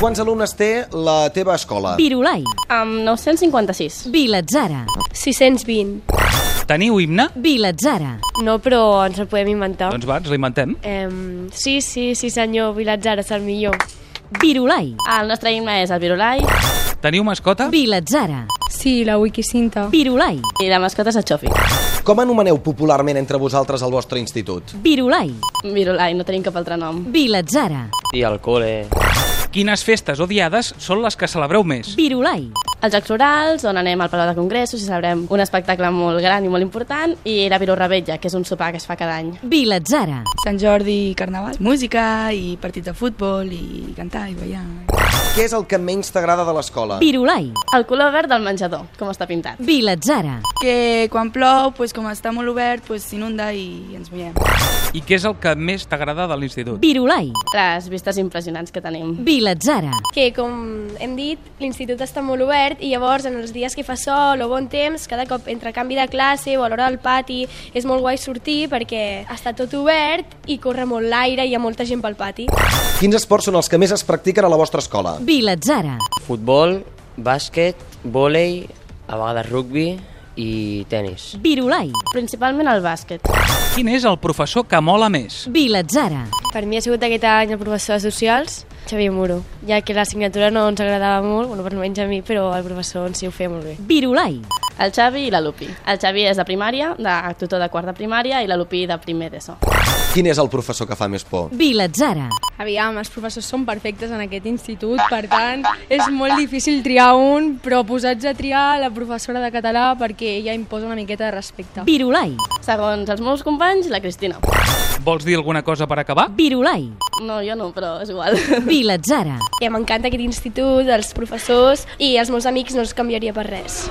Quants alumnes té la teva escola? Virolai, Amb 956. Vilatzara, 620. Teniu himne? Vilatzara, No, però ens el podem inventar. Doncs va, ens l'inventem. Em, sí, sí, sí senyor, Vilatjar és el millor. Virolai, El nostre himne és el Virulai Teniu mascota? Vilatzara, Sí, la Wikicinta. Virolai, i la mascota és el Xofi. Com anomeneu popularment entre vosaltres el vostre institut? Virolai, Virulai, no tenim cap altre nom. Vilatzara, I al col·le. Quines festes o diades són les que celebreu més? Virolai, Els Jocs Florals, on anem al Palau de Congressos i sabrem un espectacle molt gran i molt important, i la Virorabella, que és un sopar que es fa cada any. Vilatzara, Sant Jordi i Carnaval. Música i partits de futbol i cantar i ballar. Què és el que menys t'agrada de l'escola? Virolai, El color verd del menjador, com està pintat. Vilatzara, Que quan plou, pues, com està molt obert, pues, s'inunda i ens mullem. I què és el que més t'agrada de l'institut? Virolai, Les vistes impressionants que tenim. Vilatzara, que, com hem dit, l'institut està molt obert i llavors en els dies que fa sol o bon temps, cada cop entre canvi de classe o a l'hora del pati, és molt guai sortir perquè està tot obert i corre molt l'aire i hi ha molta gent pel pati. Quins esports són els que més es practiquen a la vostra escola? Vilatzara, Futbol, bàsquet, vòlei, a vegades rugbi i tennis. Virolai, Principalment el bàsquet. Quin és el professor que mola més? Vilatzara, Per mi ha sigut aquest any el professor de Socials, Xavier Muro, ja que l'assignatura no ens agradava molt, bueno, per menys a mi, però el professor en si ho feia molt bé. Virolai, El Xavi i la Lupi. El Xavi és de primària, de tutor de quart de primària, i la Lupi de primer d'ESO. Quin és el professor que fa més por? Vilatzara, Aviam, els professors són perfectes en aquest institut, per tant, és molt difícil triar un, però posats a triar la professora de català perquè ella imposa una miqueta de respecte. Virolai, Segons els meus companys, la Cristina. Vols dir alguna cosa per acabar? Virolai, No, jo no, però és igual. Vilatzara, I m'encanta aquest institut, els professors i els meus amics no els canviaria per res.